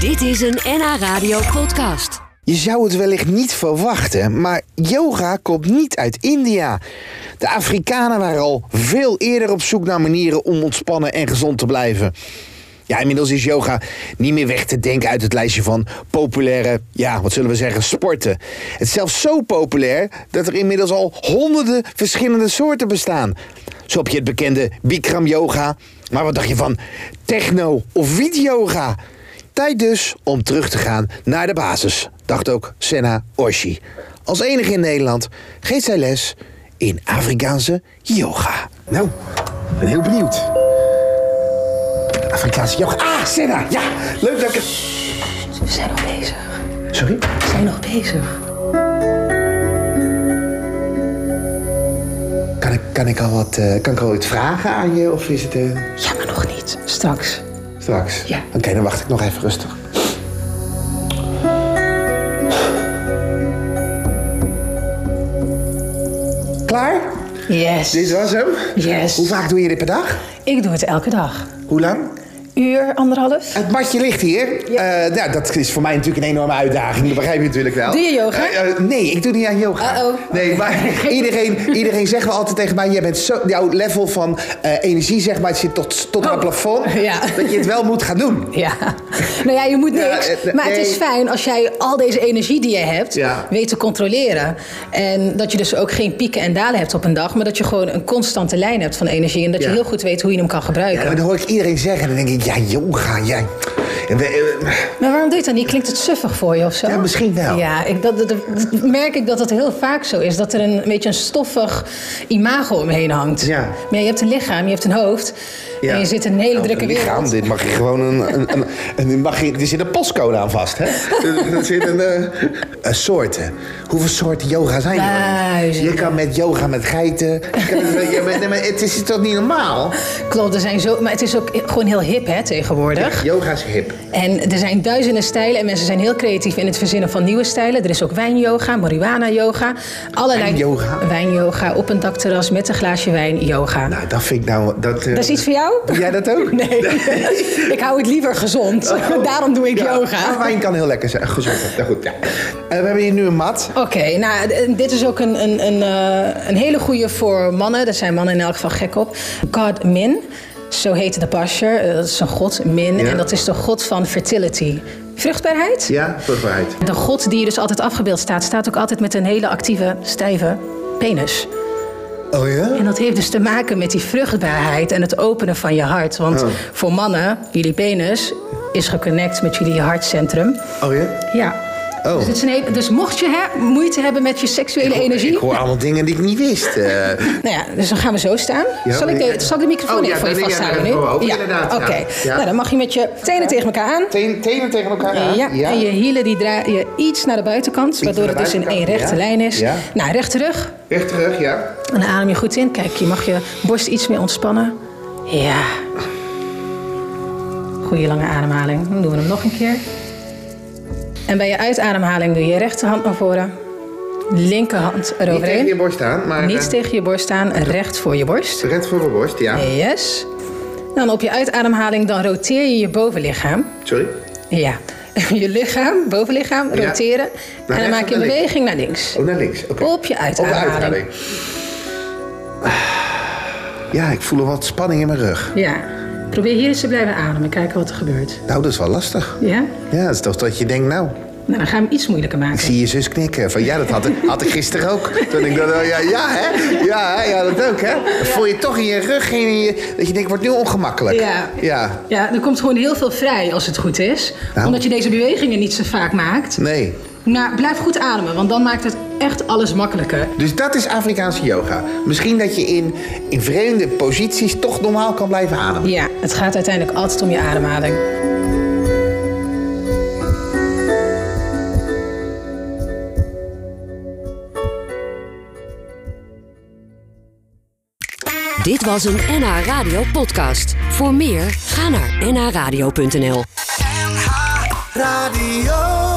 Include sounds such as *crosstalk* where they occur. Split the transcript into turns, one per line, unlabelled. Dit is een NH Radio podcast.
Je zou het wellicht niet verwachten, maar yoga komt niet uit India. De Afrikanen waren al veel eerder op zoek naar manieren om ontspannen en gezond te blijven. Ja, inmiddels is yoga niet meer weg te denken uit het lijstje van populaire, ja, wat zullen we zeggen, sporten. Het is zelfs zo populair dat er inmiddels al honderden verschillende soorten bestaan. Zo heb je het bekende Bikram yoga, maar wat dacht je van techno of wiet yoga? Tijd dus om terug te gaan naar de basis, dacht ook Senna Oshi. Als enige in Nederland geeft zij les in Afrikaanse yoga.
Nou, ik ben heel benieuwd.
Afrikaanse yoga. Ah, Senna! Ja, leuk dat ik... het-
We zijn nog bezig.
Sorry?
We zijn nog bezig.
Kan ik, kan ik, al, wat, eh, kan ik al iets vragen aan je of is het eh,
Ja, maar nog niet. Straks.
straks?
Ja.
Oké, dan wacht ik nog even rustig. Klaar?
Yes.
Dit was hem.
Yes.
Hoe vaak doe je dit per dag?
Ik doe het elke dag.
Hoe lang?
Uur, anderhalf.
Het matje ligt hier. Eh, nou, dat is voor mij natuurlijk een enorme uitdaging. Dat begrijp je natuurlijk wel.
Doe je yoga?
Eh, eh, nee, ik doe niet aan yoga.
Uh-oh.
Nee,
*laughs*
maar iedereen, iedereen zegt wel altijd tegen mij... Jij bent zo, jouw level van eh, energie zeg maar, het zit tot, tot aan het
Oh.
plafond.
Ja.
Dat je het wel moet gaan doen.
Ja. Nou ja, je moet
Ja,
niks.
eh,
maar het is
nee.
fijn als jij al deze energie die je hebt
Ja.
weet te controleren. En dat je dus ook geen pieken en dalen hebt op een dag. Maar dat je gewoon een constante lijn hebt van energie. En dat
Ja.
je heel goed weet hoe je hem kan
Ja,
gebruiken.
maar
maar,
dan hoor ik iedereen zeggen. Dan denk ik, ja, yoga, jij... En we- eh,
waarom doe je het dan niet? Klinkt het suffig voor je of zo?
Ja, misschien wel.
Ja, ik, dat, dat- dat merk ik dat het heel vaak zo is. Dat er een, beetje een stoffig imago omheen hangt.
Ja.
Maar ja, je hebt een lichaam, je hebt een hoofd.
Ja.
En je zit in een hele
Nou,
drukke
een lichaam,
wereld.
Dit mag je gewoon een. een, een, een- mag je, er zit een postcode aan vast,
*laughs*
hè? Er, er zit een. eh, eh, soorten. Hoeveel soorten yoga zijn er?
Duizenden.
Je kan met yoga met geiten. Je kan met- ja, maar- nee, maar het is toch niet normaal?
Klopt, er zijn zo, maar het is ook gewoon heel hip hè, tegenwoordig.
Yoga is hip.
En er zijn duizenden stijlen en mensen zijn heel creatief in het verzinnen van nieuwe stijlen. Er is ook wijnyoga, marihuana-yoga, allerlei...
Wijnyoga?
Wijnyoga, op een dakterras met een glaasje wijn, yoga.
Nou, dat vind ik nou. Dat, eh,
Dat is iets voor jou?
Doe jij dat ook?
*laughs* Nee, ik hou het liever gezond. Daarom doe ik
Oh. Ja, Oh,
yoga.
maar Nou, wijn kan heel lekker zijn. Gezond. Nou goed, ja. Eh, we hebben hier nu een mat.
Oké, nou, d- dit is ook een, een, een, eh, een hele goede voor mannen. Daar zijn mannen in elk geval gek op. God Min, zo heette de pasjer. Eh, Dat is een god, Min.
Ja.
En dat is de god van fertility. Vruchtbaarheid?
Ja, vruchtbaarheid.
De god die hier dus altijd afgebeeld staat, staat ook altijd met een hele actieve, stijve penis.
Oh ja?
En dat heeft dus te maken met die vruchtbaarheid en het openen van je hart. Want
Oh.
voor mannen, jullie penis is geconnect met jullie hartcentrum.
Oh ja?
Ja.
Oh.
Dus, het is een hele- dus mocht je hè, moeite hebben met je seksuele energie.
Ik hoor allemaal dingen die ik niet wist. eh.
Nou ja, dus dan gaan we zo staan.
Ja,
zal, ik
maar-
de, zal ik de microfoon
Oh,
even
ja,
voor je
dan- ja,
vasthouden
dan-
nu?
oh, inderdaad, ja.
Oké.
Ja.
Nou, dan mag je met je tenen tegen elkaar aan.
Teen- *laughs* Tenen tegen elkaar aan.
Ja, en je hielen die draai je iets naar de buitenkant, waardoor
naar
het
de
dus in één
buitenkant,
rechte
ja.
lijn is.
Ja.
Nou, recht terug.
Recht terug, ja.
En dan adem je goed in. Kijk, je mag je borst iets meer ontspannen. Ja. Goede lange ademhaling. Dan doen we hem nog een keer. En bij je uitademhaling doe je je rechterhand naar voren. Linkerhand
Niet tegen je
eroverheen.
borst aan, maar
Niet
eh,
tegen je borst staan, recht voor je borst.
recht voor mijn borst, ja.
Yes. Dan op je uitademhaling dan roteer je je bovenlichaam.
Sorry.
Ja. *laughs* Je lichaam, bovenlichaam,
Ja.
roteren. En
rechts
dan
of
maak je een
naar links?
beweging naar links.
Oh, naar links. Oké.
Op je uitademhaling.
Op de uitademing. Ja, ik voel wat spanning in mijn rug.
Ja. Probeer hier eens te blijven ademen, kijken wat er gebeurt.
Nou, dat is wel lastig.
Ja?
Ja, dat is toch dat je denkt, nou,
Nou, dan gaan we hem iets moeilijker
ik
maken.
zie je zus knikken. Van ja, dat had ik, had ik gisteren ook. Toen ik dacht, oh, ja, ja, hè? Ja, hè? ja, dat ook, hè? Dan voel je toch in je rug en in je, dat je denkt, wordt nu ongemakkelijk.
Ja.
Ja.
Ja, er komt gewoon heel veel vrij als het goed is.
Nou.
Omdat je deze bewegingen niet zo vaak maakt.
Nee.
Maar blijf goed ademen, want dan maakt het echt alles makkelijker.
Dus dat is Afrikaanse yoga. Misschien dat je in, in vreemde posities toch normaal kan blijven ademen.
Ja, het gaat uiteindelijk altijd om je ademhaling.
Dit was een NH Radio podcast. Voor meer, ga naar nhradio.nl.
NH Radio.